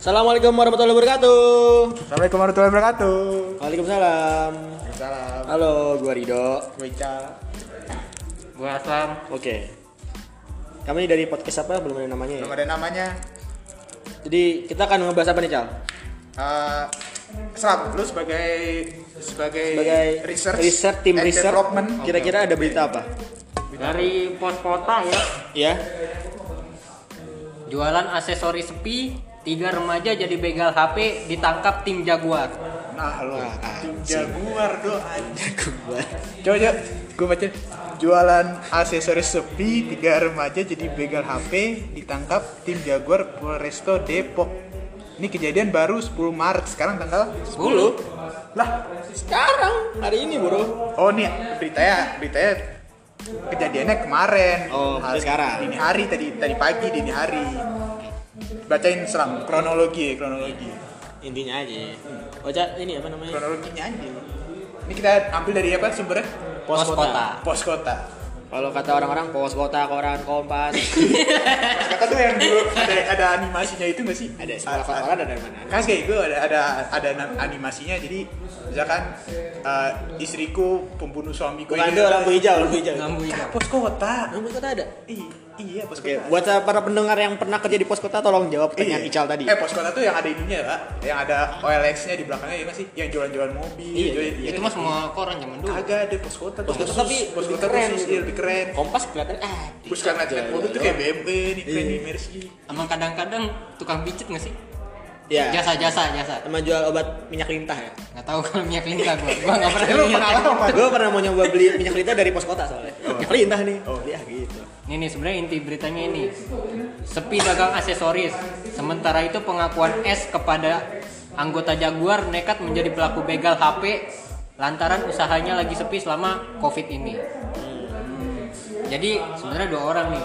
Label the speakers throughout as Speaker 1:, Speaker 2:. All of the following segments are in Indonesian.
Speaker 1: Assalamualaikum warahmatullahi wabarakatuh.
Speaker 2: Assalamualaikum warahmatullahi wabarakatuh.
Speaker 1: Waalaikumsalam.
Speaker 2: Salam. Ya.
Speaker 1: Halo, gua Rido.
Speaker 2: Wica.
Speaker 3: Gua Aslam.
Speaker 1: Oke. Kami dari podcast apa belum ada namanya ya.
Speaker 2: Belum ada namanya.
Speaker 1: Jadi kita akan ngebahas apa nih Cal?
Speaker 2: Eh, Selam, lu sebagai sebagai,
Speaker 1: Sebagai
Speaker 2: research,
Speaker 1: research, tim
Speaker 2: and
Speaker 1: research, hmm,
Speaker 2: development.
Speaker 1: kira-kira ada berita apa?
Speaker 3: Dari pos kota ya.
Speaker 1: Ya,
Speaker 3: Jualan aksesori sepi, tiga remaja jadi begal HP ditangkap tim Jaguar.
Speaker 2: Nah, lu
Speaker 1: Nah,
Speaker 2: tim
Speaker 1: anjing.
Speaker 2: jaguar doang.
Speaker 1: gua.
Speaker 2: Coba coba gue baca jualan aksesoris sepi tiga remaja jadi begal HP ditangkap tim Jaguar Polresto Depok. Ini kejadian baru 10 Maret sekarang tanggal
Speaker 3: 10.
Speaker 2: lah
Speaker 1: Sekarang hari ini, Bro.
Speaker 2: oh nih beritanya beritanya kejadiannya kemarin
Speaker 1: Oh, berarti
Speaker 2: Hari-
Speaker 1: sekarang.
Speaker 2: dini hari tadi tadi pagi dini hari bacain selam kronologi ya, kronologi
Speaker 1: Intinya aja. Oh,
Speaker 2: Hmm.
Speaker 1: Cal, ini apa namanya?
Speaker 2: kronologinya aja ini kita ambil dari apa sumbernya
Speaker 3: Pos kota.
Speaker 2: pos kota
Speaker 1: Kalau kata orang-orang pos kota, koran, kompas,
Speaker 2: kata tuh yang dulu ada ada animasinya itu nggak sih
Speaker 1: ada sekolah koran ada dari mana?
Speaker 2: Kas kayak gue ada ada ada na- animasinya jadi misalkan eh, istriku pembunuh suamiku
Speaker 1: Bukan
Speaker 2: ini-
Speaker 1: itu lampu hijau, lampu hijau.
Speaker 3: Ngambu hijau.
Speaker 2: pos kota
Speaker 1: Lampu kota ada.
Speaker 2: I- iya pos
Speaker 1: Oke,
Speaker 2: kota
Speaker 1: buat para pendengar yang pernah kerja di pos kota tolong jawab pertanyaan
Speaker 2: Iya.
Speaker 1: Ical tadi.
Speaker 2: Eh pos kota tuh yang ada ininya ya, Pak. Yang ada OLX-nya di belakangnya ya masih yang jualan-jualan mobil.
Speaker 1: Iya,
Speaker 2: jualan-
Speaker 1: iya.
Speaker 3: Itu mah semua koran zaman dulu.
Speaker 2: Kagak ada pos kota.
Speaker 1: Pos kota
Speaker 2: khusus.
Speaker 1: tapi
Speaker 2: pos
Speaker 1: lebih
Speaker 2: kota
Speaker 1: keren
Speaker 2: khusus,
Speaker 1: gitu. iya.
Speaker 2: iya, lebih keren.
Speaker 1: Kompas kelihatan ah.
Speaker 2: Terus karena lihat mobil tuh kayak BMW nih keren di Mercy.
Speaker 3: Emang kadang-kadang tukang pijit nggak sih?
Speaker 1: Ya,
Speaker 3: Jasa-jasa, jasa.
Speaker 1: sama jual obat minyak lintah ya.
Speaker 3: Nggak tahu kalau minyak lintah gua. Gua nggak pernah
Speaker 2: Eh, lu
Speaker 3: lihat.
Speaker 2: pengalaman.
Speaker 1: gue pernah mau nyoba beli minyak lintah dari pos kota soalnya minyak lintah nih oh iya gitu
Speaker 3: Ini nih sebenarnya inti beritanya ini. Sepi dagang aksesoris. Sementara itu pengakuan S kepada anggota Jaguar nekat menjadi pelaku begal HP lantaran usahanya lagi sepi selama Covid ini. Jadi sebenarnya dua orang nih.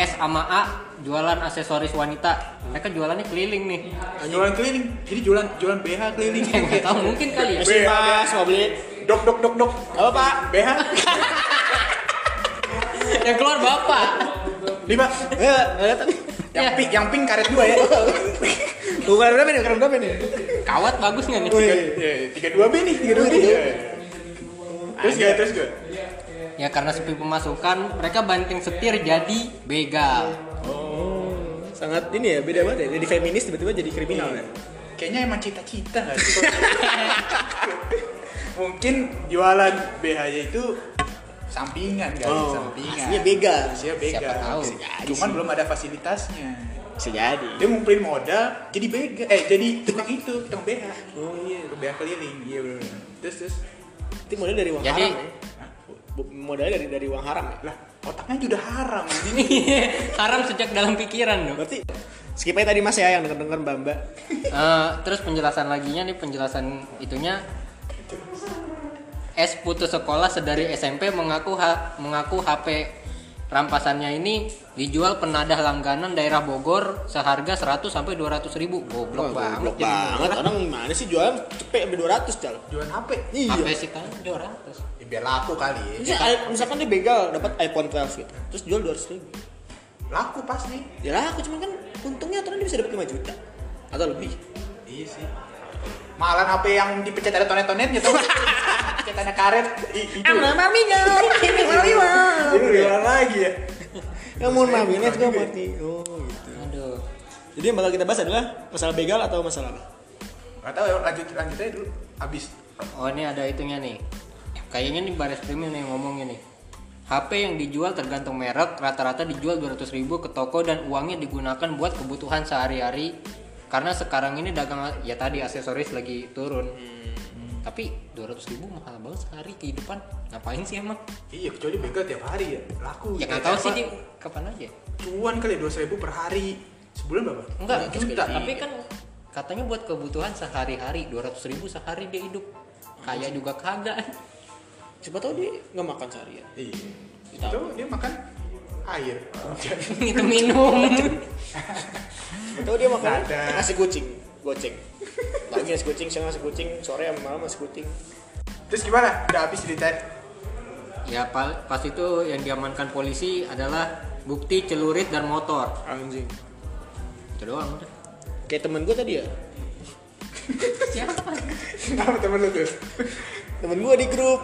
Speaker 3: S sama A jualan aksesoris wanita. Mereka jualannya keliling nih.
Speaker 2: Jualan keliling. Jadi jualan jualan BH keliling.
Speaker 1: Iya,
Speaker 3: Nggak tahu mungkin kali ya.
Speaker 1: Masih mas mau beli
Speaker 2: Dok dok dok dok.
Speaker 1: apa pak
Speaker 2: BH.
Speaker 3: Yang keluar bapak.
Speaker 2: Lima.
Speaker 1: Eh, nggak kelihatan
Speaker 2: Yang
Speaker 3: Ya.
Speaker 2: pink yang pink karet dua ya.
Speaker 1: tuh kan berapa nih keren berapa nih
Speaker 3: Kawat bagus nggak nih?
Speaker 2: Tiga- iya, Tiga dua B nih. Tiga dua B. Iya. Terus gak terus gak.
Speaker 3: Ya karena sepi pemasukan, mereka banting setir jadi begal.
Speaker 1: sangat ini ya beda banget ya jadi feminis tiba-tiba jadi kriminal
Speaker 2: Iya.
Speaker 1: ya
Speaker 2: Kayaknya emang cita-cita gak sih? Mungkin jualan BH nya itu sampingan kan? sampingan.
Speaker 1: Oh, aslinya bega
Speaker 2: Isinya bega.
Speaker 3: Siapa tahu.
Speaker 2: Bisa jadi Cuman belum ada fasilitasnya.
Speaker 1: bisa jadi
Speaker 2: Dia ngumpulin modal, jadi bega. Eh, jadi tukang itu, tukang BH. Oh iya, BH keliling. Iya benar. Terus terus
Speaker 1: itu modal dari uang
Speaker 3: Jadi-
Speaker 1: haram ya Bu- modalnya dari dari uang haram ya
Speaker 2: lah otaknya juga haram ini.
Speaker 3: Iya. haram sejak dalam pikiran loh.
Speaker 1: berarti skip aja tadi mas ya yang denger denger mbak mbak
Speaker 3: Eh, terus penjelasan laginya nih penjelasan itunya S putus sekolah sedari SMP mengaku ha- mengaku HP rampasannya ini dijual penadah langganan daerah Bogor seharga 100 sampai 200 ribu goblok banget,
Speaker 1: blok
Speaker 3: jadi
Speaker 1: banget orang gimana sih jualan cepet sampai 200 cal
Speaker 2: Jualan HP.
Speaker 1: iya
Speaker 3: HP sih kan 200
Speaker 2: Ya, biar laku kali ya.
Speaker 1: Misalnya, i- misalkan dia begal dapat iPhone 12 gitu terus jual 200 ribu
Speaker 2: Laku pasti.
Speaker 1: ya lah aku cuman kan untungnya aturan dia bisa dapat 5 juta atau lebih
Speaker 2: Iya sih. Malan HP yang dipencet ada tonet-tonetnya tuh. Pencetannya karet. I- Itu.
Speaker 1: mami ini
Speaker 2: Itu gimana lagi ya?
Speaker 1: kamu mami ini juga mati oh gitu
Speaker 3: aduh
Speaker 1: jadi yang bakal kita bahas adalah masalah begal atau masalah apa
Speaker 2: Gak tau ya, lanjut, lanjut aja dulu. Abis.
Speaker 3: Oh ini ada itunya nih. Kayaknya nih baris krim nih yang ngomongnya nih. HP yang dijual tergantung merek, rata-rata dijual 200.000 ribu ke toko dan uangnya digunakan buat kebutuhan sehari-hari. Karena sekarang ini dagang ya tadi aksesoris lagi turun. Tapi 200.000 ribu mahal banget sehari kehidupan. Ngapain sih emang?
Speaker 2: Iya, kecuali begal tiap hari ya. Laku.
Speaker 3: Ya
Speaker 2: Kayak
Speaker 3: nggak tahu
Speaker 2: apa?
Speaker 3: sih di kapan aja.
Speaker 2: Cuan kali dua ribu per hari. Sebulan berapa?
Speaker 3: Enggak,
Speaker 2: Enam juta.
Speaker 3: tapi kan katanya buat kebutuhan sehari-hari 200.000 ribu sehari dia hidup. Kaya juga kagak.
Speaker 1: siapa tahu dia nggak makan seharian
Speaker 2: Iya. Itu dia makan air.
Speaker 3: Itu minum.
Speaker 1: siapa tahu dia makan
Speaker 2: Ada.
Speaker 1: nasi kucing goceng pagi nasi kucing siang nasi kucing sore sama malam nasi kucing
Speaker 2: Terus gimana? Udah habis ceritain.
Speaker 3: Ya pal- pas itu yang diamankan polisi adalah bukti celurit dan motor.
Speaker 1: anjing
Speaker 3: Itu doang udah.
Speaker 1: Kayak temen gue tadi ya.
Speaker 3: Siapa?
Speaker 2: Kenapa temen lu tuh?
Speaker 1: Temen gue di grup,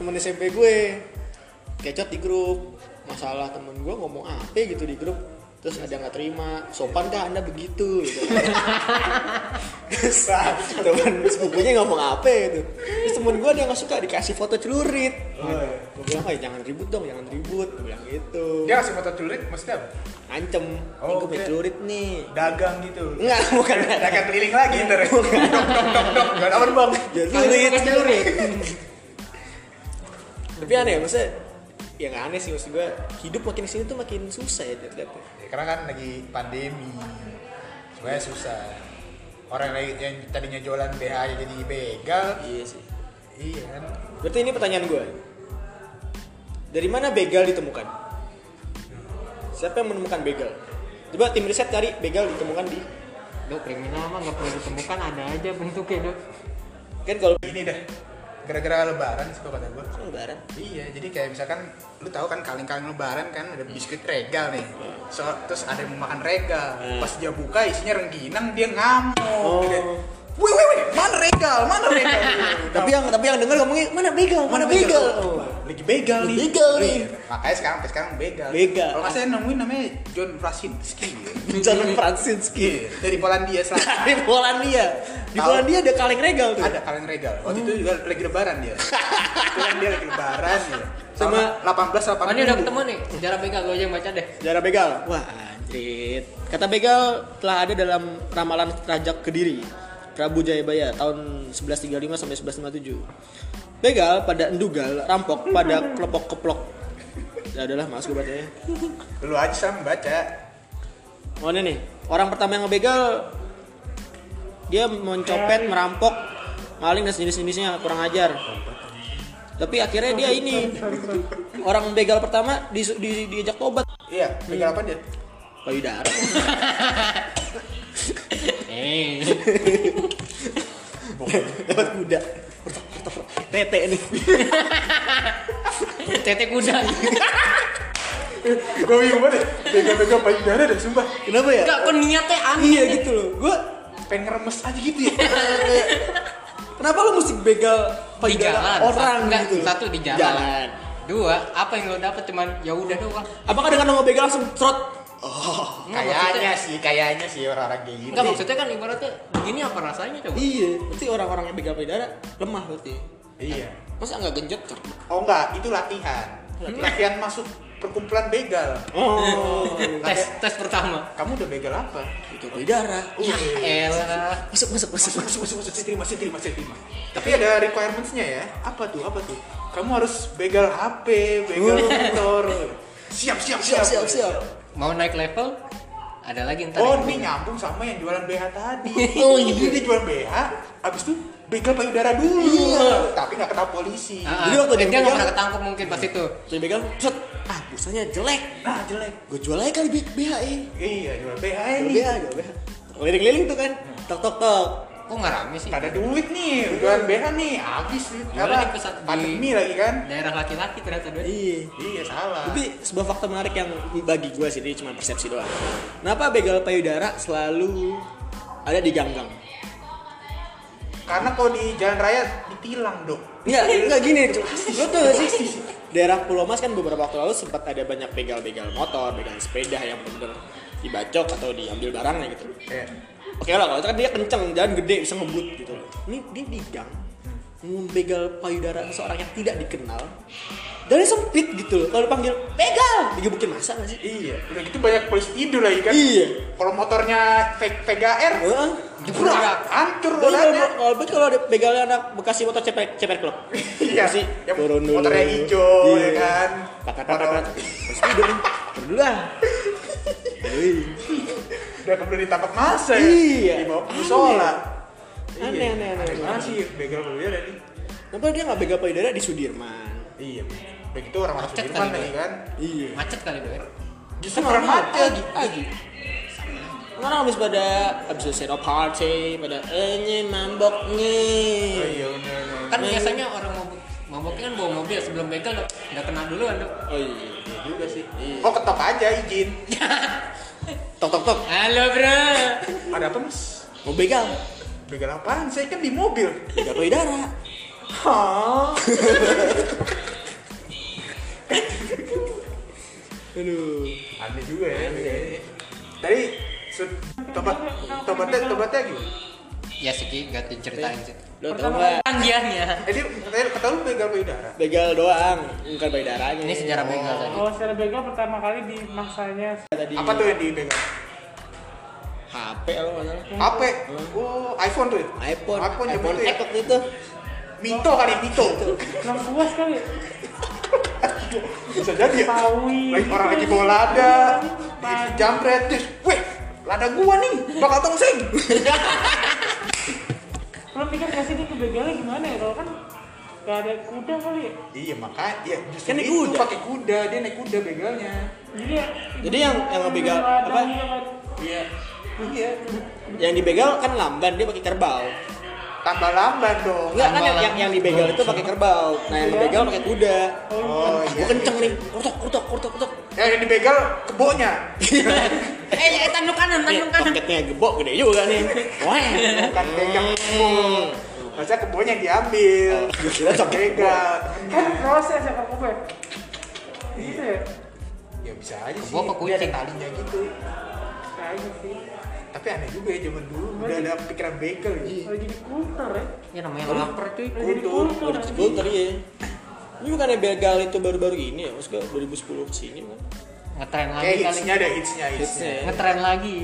Speaker 1: temen SMP gue. Kecot di grup. Masalah temen gue ngomong apa gitu di grup. Terus ada yang nggak terima, sopan kah anda begitu? Gitu. Terus temen sepupunya ngomong apa gitu. Terus temen gue ada yang nggak suka dikasih foto celurit.
Speaker 2: Oh, iya.
Speaker 1: Gue bilang, "Eh, jangan ribut dong, jangan ribut. Gue bilang gitu.
Speaker 2: Dia ngasih foto celurit maksudnya apa?
Speaker 1: Ancem,
Speaker 2: Ya. Oh,
Speaker 1: gue punya
Speaker 2: oke.
Speaker 1: celurit nih.
Speaker 2: Dagang gitu.
Speaker 1: Enggak, bukan.
Speaker 2: Nggak akan keliling lagi ntar. ya. Dok dok dok dok. Gak ada bang.
Speaker 1: Celurit.
Speaker 3: Pakai celurit.
Speaker 1: Tapi aneh ya, maksudnya ya nggak aneh sih maksud gue hidup makin sini tuh makin susah ya lihat
Speaker 2: Ya, karena kan lagi pandemi. Sebenarnya susah. Orang yang, lagi- yang tadinya jualan BH aja jadi begal.
Speaker 1: Iya sih.
Speaker 2: Iya kan.
Speaker 1: Berarti ini pertanyaan gue. Dari mana begal ditemukan? Siapa yang menemukan begal? Coba tim riset cari begal ditemukan di
Speaker 3: Dok, kriminal mah nggak perlu ditemukan, ada aja bentuknya dok.
Speaker 1: kan kalau Kan
Speaker 2: Ini dah. Gara-gara lebaran sih kalau kata gue.
Speaker 1: Kok lebaran.
Speaker 2: Iya, jadi kayak misalkan lu tahu kan kaleng-kaleng lebaran kan ada biskuit regal nih. So, terus ada yang mau makan regal.
Speaker 1: Hmm.
Speaker 2: Pas dia buka isinya rengginang, dia ngamuk.
Speaker 1: Oh.
Speaker 2: Kayak, Wih, wih, wih, mana regal? Mana regal?
Speaker 1: Tapi yang tapi yang dengar ngomongnya mana begal? Mana begal? Oh.
Speaker 2: Lagi begal nih.
Speaker 1: Begal nih.
Speaker 2: Iya, Makanya sekarang sampai sekarang begal.
Speaker 1: Begal.
Speaker 2: Kalau nggak saya nemuin namanya John Frasinski.
Speaker 1: John Fransinski.
Speaker 2: dari Polandia selatan.
Speaker 1: Di Polandia. Di
Speaker 2: Tahu.
Speaker 1: Polandia ada kaleng regal tuh.
Speaker 2: ada kaleng regal. Waktu itu juga lagi lebaran dia. Kebetulan dia lagi lebaran ya.
Speaker 1: Sama-
Speaker 2: 18
Speaker 3: Oh,
Speaker 2: 18.
Speaker 3: ini udah ketemu nih, sejarah begal gue aja yang baca deh.
Speaker 1: Sejarah begal. Wah, anjrit. Kata begal telah ada dalam ramalan Rajak Kediri, Prabu Jayabaya tahun 1135 sampai 1157. Begal pada endugal, rampok pada kelepok-keplok. Ya adalah mas gue bacanya.
Speaker 2: Lu aja sama baca.
Speaker 1: Oh ini nih, orang pertama yang ngebegal dia mencopet, merampok, maling dan jenis-jenisnya kurang ajar. Tapi akhirnya dia ini orang begal pertama di, di- diajak tobat
Speaker 2: Iya, begal apa dia?
Speaker 1: payudara.
Speaker 3: Eh,
Speaker 1: Lewat kuda. Tete nih.
Speaker 3: tete kuda.
Speaker 2: Gue bingung banget deh, begal-begal payudara deh, sumpah
Speaker 1: Kenapa ya?
Speaker 3: Enggak, kok niatnya aneh.
Speaker 1: Iya gitu loh. Gue
Speaker 2: Pengen ngeremes aja gitu ya
Speaker 1: kenapa lo mesti begal
Speaker 3: Di jalan.
Speaker 1: payudara orang
Speaker 3: Enggak,
Speaker 1: gitu? loh?
Speaker 3: satu di jalan. Dua, apa yang lo dapat cuman ya udah doang.
Speaker 1: Apakah dengan lo ngebegal langsung trot? Oh.
Speaker 3: Enggak, maksudnya-
Speaker 2: Kayaknya sih, kayaknya sih orang-orang kayak gitu
Speaker 3: Enggak maksudnya kan ibaratnya begini apa rasanya coba?
Speaker 1: Iya. Berarti orang-orang yang begal payudara lemah berarti.
Speaker 2: Iya
Speaker 1: Masa nggak genjot kan?
Speaker 2: Oh enggak, itu latihan Latihan masuk perkumpulan begal
Speaker 1: Hmm. Oh.
Speaker 3: Tes tes pertama.
Speaker 2: Kamu udah begal apa?
Speaker 1: Begal payudara. Uh,
Speaker 3: Ya elah.
Speaker 1: Masuk masuk masuk masuk.
Speaker 2: Masuk, masuk, masuk, saya terima, saya terima, saya terima Tapi
Speaker 1: Iya.
Speaker 2: ada requirements-nya ya Apa tuh, apa tuh? Kamu harus begal HP, begal motor Siap, siap, siap
Speaker 1: Siap siap siap. ya.
Speaker 3: Mau naik level? Ada lagi ntar.
Speaker 2: Oh,
Speaker 3: yang-
Speaker 2: ini nyambung sama yang jualan BH tadi.
Speaker 1: Oh, iya.
Speaker 2: Jadi dia jualan BH, abis itu begal payudara dulu.
Speaker 1: Iya.
Speaker 2: Tapi nggak kena polisi.
Speaker 3: Ah,
Speaker 1: Jadi waktu
Speaker 3: eh,
Speaker 1: dia
Speaker 3: dia nggak
Speaker 1: pegang-
Speaker 3: pernah ketangkep mungkin pas itu.
Speaker 1: Tuh begal trot. Ah busanya jelek.
Speaker 2: Nah, jelek.
Speaker 1: Gue jual aja kali B- BH eh.
Speaker 2: Iya, jualan BH
Speaker 1: Jual
Speaker 2: ini.
Speaker 1: BH jual BH. Keliling-keliling tuh kan. Tok tok tok.
Speaker 3: Kok nggak rame sih?
Speaker 2: Nggak ada duit nih, jualan BH nih, habis nih.
Speaker 3: Jualan
Speaker 2: Apa?
Speaker 3: di pusat- di-
Speaker 2: Pandemi lagi kan?
Speaker 3: Daerah laki-laki ternyata duit.
Speaker 1: Iya.
Speaker 2: Iya, salah.
Speaker 1: Tapi sebuah fakta menarik yang bagi gue sih, ini cuma persepsi doang. Kenapa begal payudara selalu ada di ganggang?
Speaker 2: Karena kalau di jalan raya ditilang, Dok.
Speaker 1: Enggak, Iya, enggak gini. Lo tuh gak sih? Daerah Pulau Mas kan beberapa waktu lalu sempat ada banyak begal-begal motor, begal sepeda yang bener-bener dibacok atau diambil barangnya gitu.
Speaker 2: Iya.
Speaker 1: Oke lah, kalau itu kan dia kenceng, jalan gede, bisa ngebut gitu. Ini dia di gang, membegal payudara seorang yang tidak dikenal. Dari sempit gitu loh, kalau dipanggil begal, digebukin masa gak sih?
Speaker 2: Iya, udah gitu banyak polisi tidur lagi kan.
Speaker 1: Iya.
Speaker 2: Kalau motornya V- Vega R,
Speaker 1: Heeh.
Speaker 2: jebrak, hancur
Speaker 1: Tapi kalau
Speaker 2: rodanya.
Speaker 1: kalau bet kalau ada begalnya anak Bekasi motor ceper ceper klub.
Speaker 2: Iya,
Speaker 1: Bekasi,
Speaker 2: yang
Speaker 1: turun dulu. Iya.
Speaker 2: motornya hijau, ya kan?
Speaker 1: Pakat pakat pakat. Terus tidur nih. Turun dulu lah. Wih.
Speaker 2: Udah kemudian ditangkap masa ya.
Speaker 1: Iya.
Speaker 2: Dibawa ke
Speaker 1: Aneh.
Speaker 2: musola.
Speaker 1: Aneh,
Speaker 2: Iya.
Speaker 1: aneh, aneh,
Speaker 2: Aneh banget
Speaker 1: aneh.
Speaker 2: sih begal payudara nih.
Speaker 1: Kenapa dia nggak begal payudara di Sudirman?
Speaker 2: Iya. Begitu orang-orang
Speaker 3: Macet
Speaker 2: Sudirman
Speaker 3: kali,
Speaker 2: lagi kan.
Speaker 1: Iya.
Speaker 3: Macet kali duit.
Speaker 2: Justru orang macet.
Speaker 1: Agi, agi. Orang habis pada habis selesai party, pada eh nih, mambok
Speaker 2: Oh
Speaker 1: nih.
Speaker 2: iya bener bener.
Speaker 3: Kan biasanya orang mabuk mabuknya kan bawa mobil sebelum begal dok. Udah kenal duluan dok.
Speaker 1: Oh iya.
Speaker 2: Iya juga sih. Oh ketok aja izin.
Speaker 1: Tok tok tok.
Speaker 3: Halo bro.
Speaker 2: Ada apa mas?
Speaker 1: Mau begal.
Speaker 2: Begal apaan? Saya kan di mobil.
Speaker 1: Begal payudara.
Speaker 2: Hah?
Speaker 1: Aduh.
Speaker 2: Aneh juga ya. begalnya. Tadi sud- tobat tobatnya tobatnya gitu.
Speaker 3: Ya segi gak diceritain sih.
Speaker 1: Lo tau nggak?
Speaker 3: Tanggiannya.
Speaker 2: Eh dia katanya kata lu begal payudara.
Speaker 1: Begal doang, bukan payudaranya.
Speaker 3: Ini sejarah begal tadi.
Speaker 4: Kalau secara begal pertama kali di masanya
Speaker 1: Tadi
Speaker 2: Apa tuh yang dipegang?
Speaker 1: HP lo masalah.
Speaker 2: HP. Oh, iPhone tuh. ya?
Speaker 1: iPhone,
Speaker 2: iPhone, yang
Speaker 1: iPhone
Speaker 2: itu ya.
Speaker 1: X waktu itu.
Speaker 2: Mito kali Mito.
Speaker 4: enam puas kali.
Speaker 2: Bisa jadi ya.
Speaker 4: Sawi.
Speaker 2: Lagi orang lagi bawa lada, di jamret, terus, weh, lada gua nih, bakal tongseng.
Speaker 4: Lo pikir gak sih dia kebegalnya gimana ya? Kalau kan gak ada kuda kali ya.
Speaker 2: iya makanya, ya justru
Speaker 1: Kan naik
Speaker 2: itu
Speaker 1: kuda.
Speaker 2: pakai kuda, dia naik kuda begalnya.
Speaker 4: Jadi ya,
Speaker 1: Jadi yang- yang ngebegal,
Speaker 4: ada
Speaker 1: apa?
Speaker 4: dia kan.
Speaker 2: Iya, iya.
Speaker 1: Yang dibegal kan lamban, dia pakai kerbau.
Speaker 2: Tambah lamban dong.
Speaker 1: Enggak kan yang,
Speaker 3: Lamban.
Speaker 1: yang, yang dibegal itu pakai kerbau. Nah,
Speaker 3: Iya.
Speaker 1: yang dibegal pakai kuda.
Speaker 2: Oh
Speaker 1: Gua kenceng nih. Kurtok, kurtok, kurtok, kurtok.
Speaker 2: Ya, yang dibegal kebonya.
Speaker 3: Eh, ya, tanduk
Speaker 1: Nih,
Speaker 3: kanan, tanduk kanan.
Speaker 1: Iya, Paketnya gebok gede juga nih. Wah.
Speaker 2: Bukan pegang kebo. Masa kebonya yang diambil.
Speaker 1: Gua kira sampai
Speaker 2: Begal.
Speaker 4: Kan proses ya Pak Kobe. Gitu ya.
Speaker 2: Ya bisa aja sih.
Speaker 3: Kebo apa
Speaker 2: Dia ada
Speaker 3: kucing?
Speaker 2: talinya gitu.
Speaker 4: Kayaknya Nah, sih.
Speaker 2: Tapi aneh juga ya zaman dulu udah ada pikiran begal gitu.
Speaker 4: Lagi di kultur ya.
Speaker 3: Ya namanya lapar cuy.
Speaker 4: Lagi di
Speaker 2: Kultur,
Speaker 4: kultur. anjing.
Speaker 1: Gue tadi ya. Ini bukannya begal itu baru-baru ini ya, Mas? Gua 2010 kesini kan.
Speaker 3: Ngetren lagi
Speaker 2: Kayak
Speaker 3: kali.
Speaker 2: hitsnya ada hitsnya hitsnya.
Speaker 1: Hitsnya.
Speaker 3: Ngetren lagi.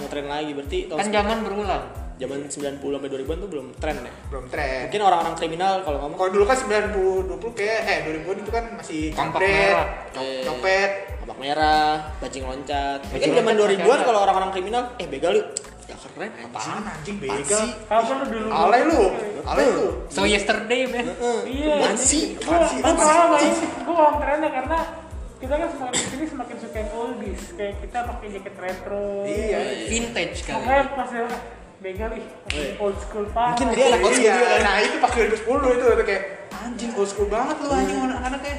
Speaker 1: Ngetren Iya. lagi berarti tahun
Speaker 3: Iya. Kan zaman berulang.
Speaker 1: zaman 90 sampai 2000-an tuh belum tren ya.
Speaker 2: Belum tren.
Speaker 1: Mungkin orang-orang kriminal kalau ngomong
Speaker 2: Kalau dulu kan 90 20 kayak eh 2000 itu kan masih
Speaker 3: Kampak
Speaker 2: kampret,
Speaker 3: merah.
Speaker 1: Eh.
Speaker 2: copet.
Speaker 1: Abak merah, bajing loncat. Mungkin
Speaker 3: Bajing
Speaker 1: zaman
Speaker 3: loncat,
Speaker 1: 2000-an
Speaker 3: pakai
Speaker 1: kalau orang-orang kriminal, eh begal yuk. Gak keren apaan?
Speaker 2: Apaan anjing
Speaker 1: Apaan
Speaker 2: begal?
Speaker 1: sih?
Speaker 4: Kapan lu dulu?
Speaker 2: Alay lu, alay lu.
Speaker 3: So yesterday, man.
Speaker 1: Eh,
Speaker 4: Iya.
Speaker 1: Apaan sih?
Speaker 4: Gue
Speaker 1: Apaan sih?
Speaker 4: gue
Speaker 1: Apaan
Speaker 4: paham
Speaker 1: sih?
Speaker 4: Ais. Gue paham trennya karena kita kan semakin kesini semakin suka yang oldies. Kayak kita pakai jaket retro.
Speaker 2: Iya.
Speaker 3: Vintage
Speaker 4: Makanya
Speaker 3: kali.
Speaker 4: pas ya begal ih
Speaker 1: Iya.
Speaker 4: old school parah.
Speaker 1: Mungkin dia anak old school
Speaker 2: Iya,
Speaker 1: juga kan?
Speaker 2: Nah, itu pas 2010 itu itu kayak anjing old school banget lu anjing anak-anaknya.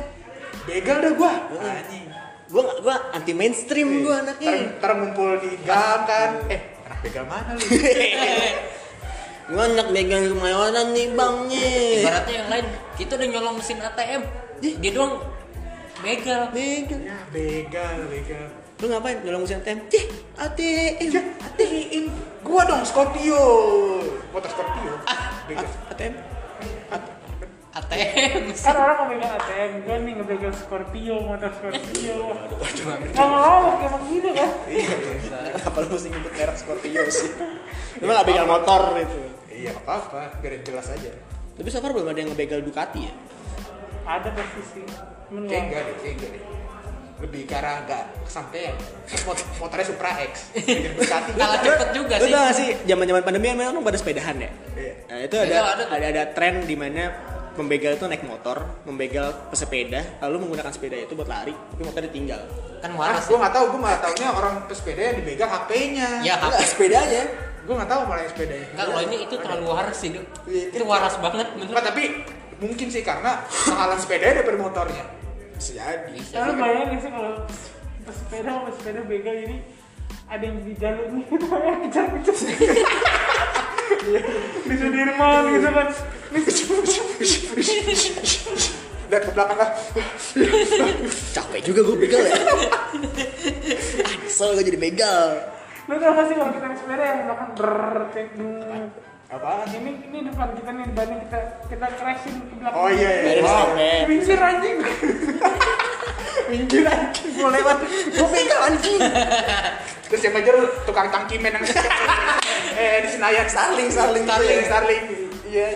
Speaker 2: Begal dah gua. Nah, Anjing.
Speaker 1: Gua nggak- gua anti mainstream
Speaker 2: Iya.
Speaker 1: gua anaknya.
Speaker 2: Ntar- Ntar ngumpul di gang kan. Eh, anak begal mana lu?
Speaker 1: Gua anak begal kemayoran nih bang nih.
Speaker 3: Ibaratnya yang lain, kita udah nyolong mesin ATM. Dia doang begal.
Speaker 1: Begal.
Speaker 2: Ya, begal, begal.
Speaker 1: Lu ngapain? Nolong usia ATM? Cih, ATM.
Speaker 2: Ya, hatiin gua dong Scorpio. Motor Scorpio. Begal.
Speaker 1: ATM.
Speaker 3: ATM.
Speaker 4: Kan orang ngebegal ATM, gue nih ngebegal Scorpio, motor Scorpio. Gak mau, emang gitu kan?
Speaker 2: Iya,
Speaker 1: Kenapa lu mesti nyebut merek Scorpio sih? Emang nggak begal motor itu.
Speaker 2: iya nggak apa-apa, biar jelas aja.
Speaker 1: Tapi so far belum ada yang ngebegal Ducati ya?
Speaker 4: Ada pasti sih. Cuman
Speaker 2: Kayak
Speaker 4: gua-
Speaker 2: enggak deh, kayak enggak deh. Lebih ke arah enggak kesampean. Terus mot- motornya Supra X. Bikin Ducati.
Speaker 3: Kalah cepet juga
Speaker 1: Lu
Speaker 3: sih.
Speaker 1: tau gak sih, zaman-zaman pandemi kan memang pada sepedahan ya?
Speaker 2: Iya.
Speaker 1: Nah, itu
Speaker 3: Begal
Speaker 1: ada
Speaker 3: ada
Speaker 1: ada,
Speaker 3: tuh.
Speaker 1: ada, tren di mana pembegal itu naik motor, membegal pesepeda, lalu menggunakan sepeda itu buat lari, tapi motor ditinggal.
Speaker 2: Ah,
Speaker 3: Kan waras.
Speaker 2: gua nggak tahu, gua malah taunya orang pesepeda yang dibegal HP-nya.
Speaker 3: Ya,
Speaker 1: Enggak, sepedanya.
Speaker 2: Gua nggak tahu malah yang sepedanya.
Speaker 3: Enggak, kalau ini itu terlalu waras sih, Dok.
Speaker 1: Iya,
Speaker 3: Itu waras banget menurut
Speaker 2: Nggak, tapi mungkin sih karena mahalan sepedanya daripada motornya.
Speaker 1: Bisa jadi.
Speaker 3: Bisa.
Speaker 4: Kalau bayangin nggak sih kalau pesepeda sama sepeda begal jadi ada yang di jalur nih gitu ya kejar-kejar di Sudirman gitu kan Nih,
Speaker 2: Lihat ke belakang ah. lah.
Speaker 1: Capek juga gue begal ya. Ah, Kesel gue jadi begal.
Speaker 4: lu tau gak sih kalau kita naik sepeda yang makan bertek
Speaker 2: Apaan?
Speaker 4: ini ini depan kita nih depannya kita kita crashin ke belakang
Speaker 2: Oh iya iya.
Speaker 1: Dari
Speaker 2: Wow.
Speaker 1: sepeda.
Speaker 4: Pinggir anjing
Speaker 2: Minggir anjing gua lewat. Gua begal anjing. Terus yang ngejar tukang tangkimen yang eh di Senayan Starling Starling Starling Starling. Iya.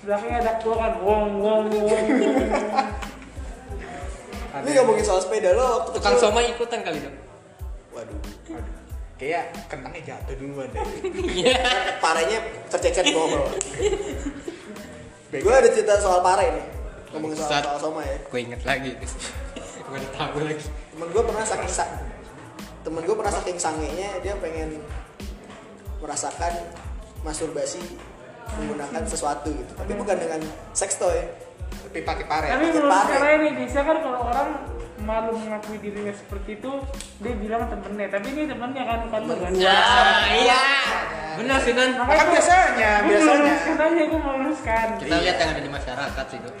Speaker 4: belakangnya ada keluar kan wong wong wong
Speaker 1: Ini ngomongin soal sepeda lo waktu
Speaker 3: Tukang soma ikutan kali, Dok.
Speaker 2: Waduh. Waduh. Kayak kentangnya jatuh duluan deh.
Speaker 3: Iya.
Speaker 1: parenya tercecer di bawah. Gue
Speaker 2: Begal.
Speaker 1: ada cerita soal pare nih. Ngomongin soal,
Speaker 3: Sat.
Speaker 1: soal soma ya.
Speaker 3: Gue inget lagi. Gue udah tahu lagi.
Speaker 1: temen gue pernah saking sa temen gue pernah saking sangenya dia pengen merasakan masturbasi menggunakan sesuatu gitu tapi bukan dengan seks ya. toy
Speaker 2: Tapi pakai pare.
Speaker 4: tapi menurut
Speaker 1: Pakai pare.
Speaker 4: saya nih biasanya kan kalau orang malu mengakui dirinya seperti itu dia bilang temennya tapi ini temennya kan bukan lu kan
Speaker 3: Wah, iya. Benar sih, Don.
Speaker 4: makanya
Speaker 2: Kan biasanya,
Speaker 4: gue
Speaker 2: biasanya.
Speaker 4: meluruskan aja gue meluruskan
Speaker 3: Kita lihat yang ada di masyarakat sih, Don.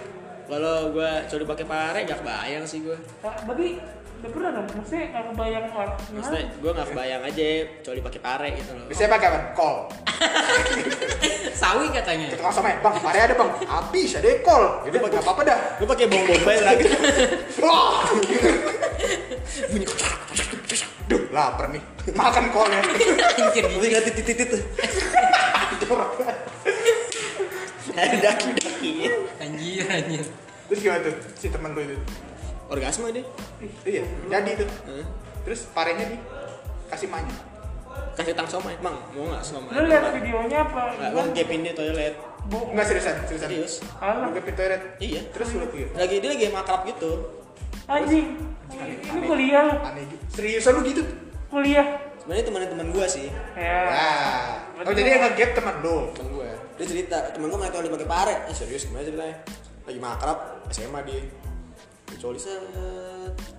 Speaker 1: Kalau gua coli pakai pare gak bayang sih gua.
Speaker 4: Nah, berarti udah pernah dong maksudnya nggak kebayang orang
Speaker 1: Maksudnya gua gak kebayang aja coli pakai pare gitu loh.
Speaker 2: Biasanya pakai apa? Kol.
Speaker 3: Sawi katanya.
Speaker 2: Ke tukang somai, bang, pare ada bang. Habis ada kol. Jadi pakai apa apa dah.
Speaker 1: Lu pakai bong bombay lagi.
Speaker 2: Wah. Duh, lapar nih. Makan kolnya.
Speaker 3: Anjir,
Speaker 1: Tapi
Speaker 3: gini.
Speaker 1: nggak titit titit tuh. Ada daki daki.
Speaker 3: Anjir, anjir.
Speaker 2: Terus gimana tuh si teman lu itu?
Speaker 1: Orgasme deh.
Speaker 2: Iya, jadi tuh.
Speaker 1: Heeh.
Speaker 2: Terus parenya di kasih manja.
Speaker 1: Kasih tang somai, mang mau nggak somai?
Speaker 4: lu lihat videonya apa
Speaker 1: Nggak, gua ngepin dia toilet.
Speaker 4: bu
Speaker 2: Enggak seriusan, seriusan.
Speaker 1: Serius?
Speaker 4: Alah.
Speaker 2: Lu ke toilet.
Speaker 1: Iya.
Speaker 2: Terus lu gitu.
Speaker 1: Lagi dia lagi makrab gitu.
Speaker 4: anjing ini kuliah lu.
Speaker 2: Aneh gitu. Seriusan lu gitu?
Speaker 4: kuliah
Speaker 1: Sebenarnya teman-teman gua sih,
Speaker 4: ya
Speaker 2: Wah. Oh, jadi yang nge-gap teman lu.
Speaker 1: temen gue dia cerita temen gue nggak tahu dia pakai pare eh, serius gimana ceritanya lagi makrab SMA dia kecuali set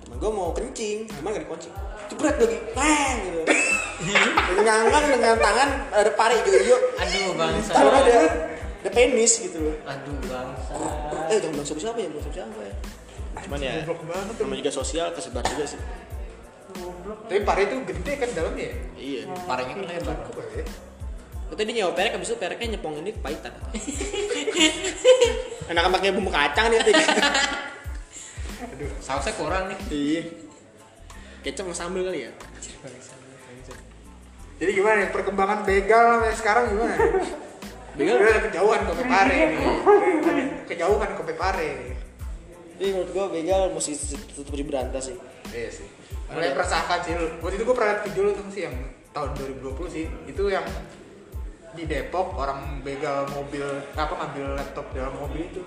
Speaker 1: temen gue mau kencing cuman gak dikuncing jebret lagi peng gitu lagi ngangkat dengan tangan ada pare hijau-hijau
Speaker 3: Aduh, bangsa.
Speaker 1: taruh ada ada penis gitu loh
Speaker 3: Aduh, bangsa.
Speaker 1: eh jangan bilang siapa ya bilang siapa ya cuman ya
Speaker 2: Goblok banget tuh.
Speaker 1: sama juga sosial kesebar juga sih
Speaker 2: Tapi pare itu gede kan dalamnya ya?
Speaker 1: iya
Speaker 3: Parahnya kan lebar.
Speaker 2: Apa ya?
Speaker 1: Itu dia nyewa perek, abis itu pereknya nyepong ini kepahitan Enakan pakai bumbu kacang nih nanti
Speaker 2: Aduh.
Speaker 3: Sausnya kurang nih.
Speaker 1: Iya. Kecap sama sambal kali ya.
Speaker 2: Jadi gimana nih perkembangan begal sampai sekarang gimana?
Speaker 1: Begal?
Speaker 2: Udah kejauhan ke Pepare nih. Kejauhan ke Pepare nih.
Speaker 1: Jadi Iya, menurut gua begal mesti tetap diberantas sih.
Speaker 2: Iya sih. Mulai meresahkan sih lu. Waktu itu gue pernah liat video lu tuh sih yang tahun 2020 sih. Itu yang di Depok orang begal mobil apa ngambil laptop dalam mobil itu.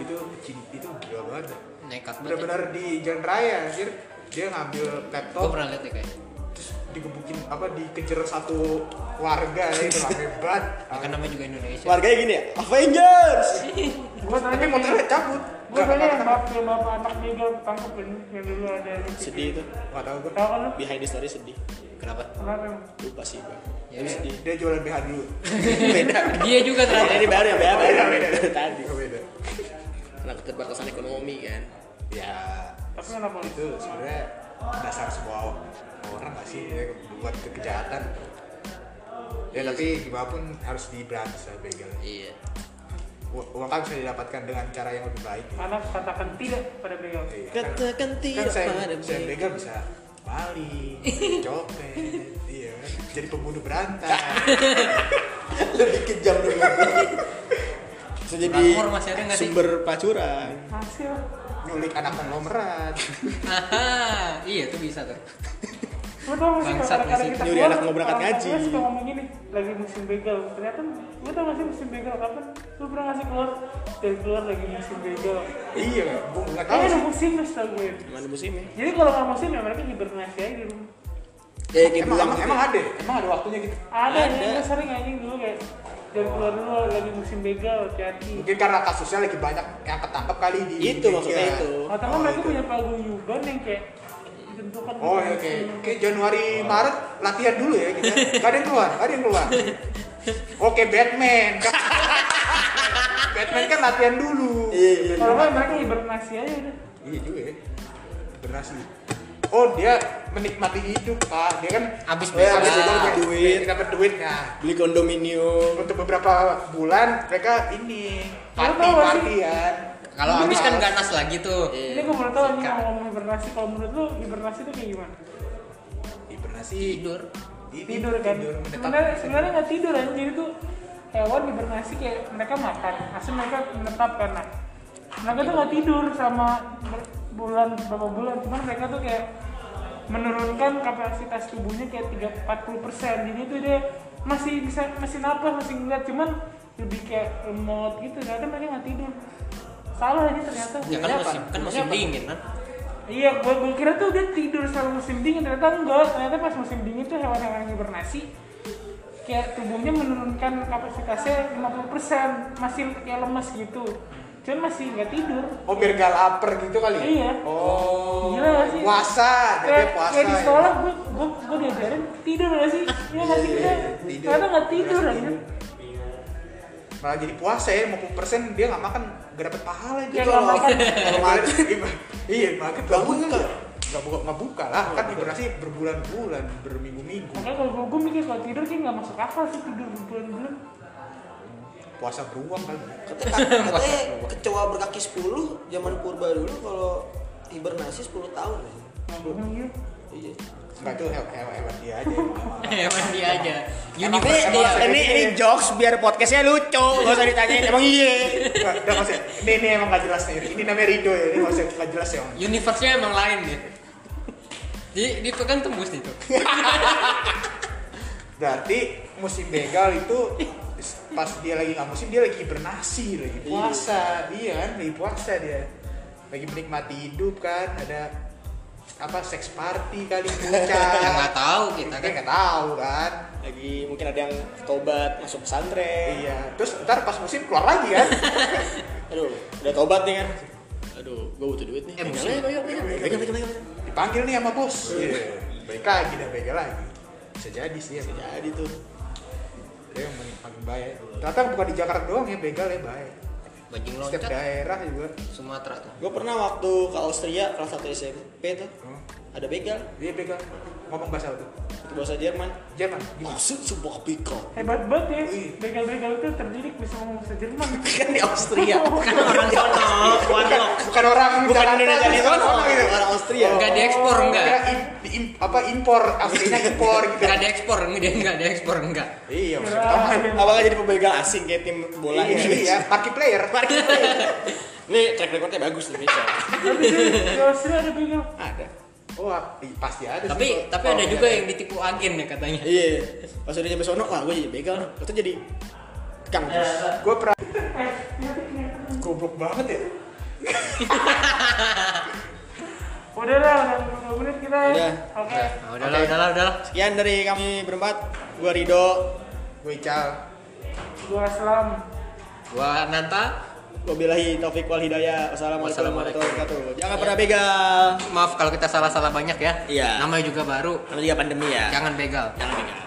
Speaker 2: Itu pecin- itu gila banget.
Speaker 3: Nekat banget.
Speaker 2: Bener-bener di jalan raya anjir. Dia ngambil
Speaker 3: Gue
Speaker 2: laptop
Speaker 3: pernah lihat ya, deh kayaknya.
Speaker 2: terus digebukin apa dikejar satu warga ya, itu rame banget.
Speaker 3: Makan nama kan juga Indonesia.
Speaker 1: Warganya gini ya, Avengers.
Speaker 4: gue
Speaker 2: Tapi
Speaker 4: tanya
Speaker 2: motornya cabut.
Speaker 4: gue tanya yang bapak yang bapak anak begal tangkepin yang dulu ada di
Speaker 1: sedih itu.
Speaker 2: Gak tau gue.
Speaker 4: tahu kan lu
Speaker 1: Behind the story sedih.
Speaker 3: Kenapa?
Speaker 4: kenapa emang?
Speaker 1: Lupa sih gua.
Speaker 3: Ya,
Speaker 1: Tapi
Speaker 3: ya.
Speaker 1: sedih.
Speaker 2: Dia jualan BH dulu.
Speaker 1: Beda.
Speaker 3: Dia juga
Speaker 1: Nah,
Speaker 3: ternyata.
Speaker 1: ini baru yang beda.
Speaker 2: Beda,
Speaker 1: Beda,
Speaker 2: beda.
Speaker 1: Tadi.
Speaker 2: Gak beda.
Speaker 1: Karena keterbatasan ekonomi kan.
Speaker 2: Ya.
Speaker 4: Tapi kenapa?
Speaker 2: Itu sebenarnya dasar semua orang gak sih ya, buat ke- kejahatan. Ya tapi gimana pun harus diberantas lah begal.
Speaker 1: Iya.
Speaker 2: U- Uang kan bisa didapatkan dengan cara yang lebih baik.
Speaker 4: anak katakan tidak pada begal
Speaker 2: Iya, kan-
Speaker 1: Katakan
Speaker 2: kan
Speaker 1: tidak
Speaker 2: saya,
Speaker 1: pada
Speaker 2: saya
Speaker 1: begal.
Speaker 2: begal bisa maling, copet, iya kan? jadi pembunuh berantai.
Speaker 1: Lebih kejam dulu. Bisa jadi
Speaker 3: Makmur masih ada nggak sih?
Speaker 1: sumber pacuran.
Speaker 4: hasil
Speaker 2: nyulik anak konglomerat
Speaker 3: Aha, iya tuh bisa tuh.
Speaker 4: Lu tau gak sih
Speaker 3: Bangsat
Speaker 4: kalau kadang
Speaker 3: nggak
Speaker 1: sih?
Speaker 4: kita
Speaker 1: Nyuri anak mau berangkat
Speaker 4: orang
Speaker 1: ngaji.
Speaker 4: tua suka ngomong gini, lagi musim begal Ternyata, lu tau gak sih musim begal kapan? Lu pernah ngasih keluar? Dan keluar lagi musim begal
Speaker 2: iya gue nggak tahu
Speaker 4: Kayaknya ada
Speaker 2: sih
Speaker 4: musim lah setau gue
Speaker 1: Mana musimnya?
Speaker 4: Jadi kalau gak musim ya mereka hibernasi aja di rumah
Speaker 1: Ya kayak
Speaker 2: emang,
Speaker 1: bilang
Speaker 2: emang,
Speaker 1: gitu.
Speaker 2: emang ada emang ada waktunya gitu
Speaker 4: Ada,
Speaker 1: Ada.
Speaker 4: ada. gue sering anjing dulu kayak Dan keluar dulu lagi musim begal, hati-hati
Speaker 2: mungkin karena kasusnya lagi banyak yang ketangkep kali di
Speaker 1: Itu maksudnya
Speaker 2: Indonesia.
Speaker 1: itu.
Speaker 4: Atau kan
Speaker 2: Oh,
Speaker 4: mereka
Speaker 2: itu.
Speaker 4: punya paguyuban yang kayak gitu. ditentukan
Speaker 2: oh ya, oke oke Januari Maret latihan dulu ya kita gak ada yang keluar gak ada yang keluar oke Batman Batman kan latihan dulu
Speaker 1: Iya, iya.
Speaker 4: Kalau nggak mereka hibernasi aja udah
Speaker 2: iya juga ya berhasil oh dia menikmati hidup pak dia kan
Speaker 3: Abis
Speaker 2: Oh, ya,
Speaker 3: begal.
Speaker 2: abis begal dapat
Speaker 1: Duit.
Speaker 2: duit dapat duit nah
Speaker 1: beli kondominium
Speaker 2: untuk beberapa bulan mereka ini
Speaker 4: Lu
Speaker 2: party
Speaker 4: tahu gak sih?
Speaker 2: partian Iya.
Speaker 3: Kalau habis kan ganas lagi tuh. Iya.
Speaker 4: Ini gue baru tau anjing ngomong hibernasi Kalau menurut lu hibernasi itu kayak gimana?
Speaker 2: hibernasi
Speaker 3: Tidur.
Speaker 2: ini
Speaker 4: tidur kan
Speaker 2: tidur menetap.
Speaker 4: sebenarnya sebenarnya nggak tidur aja jadi tuh hewan hibernasi kayak mereka makan asal mereka menetap karena mereka tuh nggak tidur selama ber- bulan beberapa bulan cuman mereka tuh kayak menurunkan kapasitas tubuhnya kayak 3 40 persen jadi tuh dia masih bisa masih napas masih ngeliat cuman lebih kayak remote gitu ternyata mereka nggak tidur salah aja ternyata
Speaker 3: Ya kan musim kan musim dingin kan.
Speaker 4: Iya, gua, gua kira tuh dia tidur selama musim dingin, ternyata enggak. Ternyata pas musim dingin tuh hewan-hewan yang hibernasi kayak tubuhnya menurunkan kapasitasnya 50%, masih kayak lemes gitu. Cuman masih nggak tidur.
Speaker 2: oh biar gak lapar gitu kali ya?
Speaker 4: Iya.
Speaker 2: oh
Speaker 4: Gila gak sih?
Speaker 2: Puasa,
Speaker 4: kayak,
Speaker 2: dia puasa.
Speaker 4: kayak di
Speaker 2: ya.
Speaker 4: sekolah gue gue gue diajarin tidur gak sih? Iya gak sih kita?
Speaker 2: tidur.
Speaker 4: Ternyata gak tidur anjir.
Speaker 2: Malah jadi puasa ya, 50% dia nggak makan, nggak dapet pahala gitu
Speaker 4: Kayak Iya, nggak
Speaker 2: loh.
Speaker 4: makan.
Speaker 2: Kalau makan, gimana? iya makan
Speaker 1: Nggak
Speaker 2: nggak buka,
Speaker 1: buka.
Speaker 2: nggak buka, nggak buka lah. Kan hibernasi berbulan-bulan, berminggu-minggu.
Speaker 4: Makanya kalau gue, gue mikir kalau tidur kayak gak masuk akal sih tidur berbulan-bulan.
Speaker 2: Puasa beruang kali.
Speaker 1: Kata- Katanya kecoa berkaki 10 zaman purba dulu kalau hibernasi 10 tahun ya.
Speaker 4: Nah, iya.
Speaker 1: Iya.
Speaker 2: Enggak tuh hewan hewan hewan dia aja. emang.
Speaker 3: Ya, Emang dia aja.
Speaker 1: Ini,
Speaker 3: Universe
Speaker 1: ini,
Speaker 3: dia.
Speaker 1: ini, ini jokes biar podcastnya lucu, gak usah ditanyain, emang iya
Speaker 2: Enggak, Udah maksudnya, ini, ini emang gak jelas nih. Ini namanya Rido ya, ini maksudnya gak jelas ya. Om.
Speaker 3: Universe-nya emang lain dia. Di, di kan tembus nih tuh.
Speaker 2: Berarti musim begal itu pas dia lagi nggak musim dia lagi hibernasi, lagi puasa, iya kan, lagi puasa dia. Lagi menikmati hidup kan, ada apa seks party kali
Speaker 3: Ya nggak
Speaker 2: puncak.
Speaker 3: tahu kita
Speaker 2: Kita
Speaker 3: kan.
Speaker 2: nggak tahu kan.
Speaker 1: Lagi mungkin ada yang tobat, masuk pesantren
Speaker 2: Iya, terus ntar pas musim keluar lagi kan.
Speaker 1: Aduh, udah tobat nih kan Aduh, gue butuh duit nih
Speaker 3: Emosi.
Speaker 1: Pegang, pegang, pegang, pegang, pegang, pegang.
Speaker 2: Dipanggil nih sama bos. Iya. Baik lagi dah begal lagi. Bisa jadi sih ya.
Speaker 1: Jadi tuh
Speaker 2: Dia yang paling, paling bahaya. Ternyata bukan di Jakarta doang ya begal ya bahaya.
Speaker 3: Bajing
Speaker 2: Setiap
Speaker 3: loncat
Speaker 2: daerah juga.
Speaker 3: Sumatera tuh.
Speaker 1: Gue pernah waktu ke Austria kelas 1 SMP tuh
Speaker 2: Oh,
Speaker 1: ada begal
Speaker 2: Dia begal. Ngomong bahasa apa tuh?
Speaker 1: itu bahasa Jerman.
Speaker 2: Jerman. Gimana?
Speaker 1: Maksud sebuah begal
Speaker 4: Hebat banget ya.
Speaker 2: Wih.
Speaker 4: Begal-begal itu terdidik bisa ngomong bahasa Jerman.
Speaker 1: kan di Austria.
Speaker 3: Kan orang sono, Wanlok.
Speaker 2: Bukan orang
Speaker 1: Bukan
Speaker 2: Jakarta,
Speaker 1: Indonesia
Speaker 2: terus
Speaker 1: nih, orang
Speaker 2: orang gitu.
Speaker 1: orang Austria. Iya,
Speaker 3: Enggak diekspor enggak. Kan
Speaker 2: Kira im- di im- apa impor aslinya impor gitu.
Speaker 3: Enggak diekspor enggak dia enggak diekspor enggak.
Speaker 2: Iya,
Speaker 4: Kira-
Speaker 2: maksud teman.
Speaker 1: Apakah jadi pebegal asing kayak tim bola
Speaker 2: Iya, iya,
Speaker 1: Indonesia?
Speaker 2: party player. Party player.
Speaker 1: Ini track recordnya bagus nih Indonesia.
Speaker 4: Tapi sih, kalau sih ada begal.
Speaker 1: ada.
Speaker 2: Wah, i- Oh, ah, pasti ada. sih.
Speaker 3: Tapi tapi
Speaker 2: Oh,
Speaker 3: ada
Speaker 2: iya.
Speaker 3: juga yang ditipu agen ya katanya.
Speaker 1: Iya. Pas udah nyampe sono, wah gue jadi begal. Itu jadi kang terus.
Speaker 2: Gue pernah
Speaker 4: Eh, ternyata ternyata.
Speaker 2: goblok banget ya.
Speaker 4: Udah lah, udah 20 menit kita ya.
Speaker 1: Udah.
Speaker 4: Oke.
Speaker 3: Nah, udahlah
Speaker 1: Oke.
Speaker 3: udahlah udahlah.
Speaker 1: Sekian dari kami berempat. Gue Rido.
Speaker 2: Gue ical.
Speaker 4: Gua salam.
Speaker 3: Gua Nanta
Speaker 1: Wabillahi taufiq wal hidayah. Wassalamualaikum
Speaker 3: Wassalamualaikum.
Speaker 1: warahmatullahi wabarakatuh. Jangan pernah begal.
Speaker 3: maaf kalau kita salah-salah banyak ya.
Speaker 1: Iya.
Speaker 3: Namanya juga baru.
Speaker 1: Namanya juga pandemi ya.
Speaker 3: Jangan begal.
Speaker 1: Jangan begal.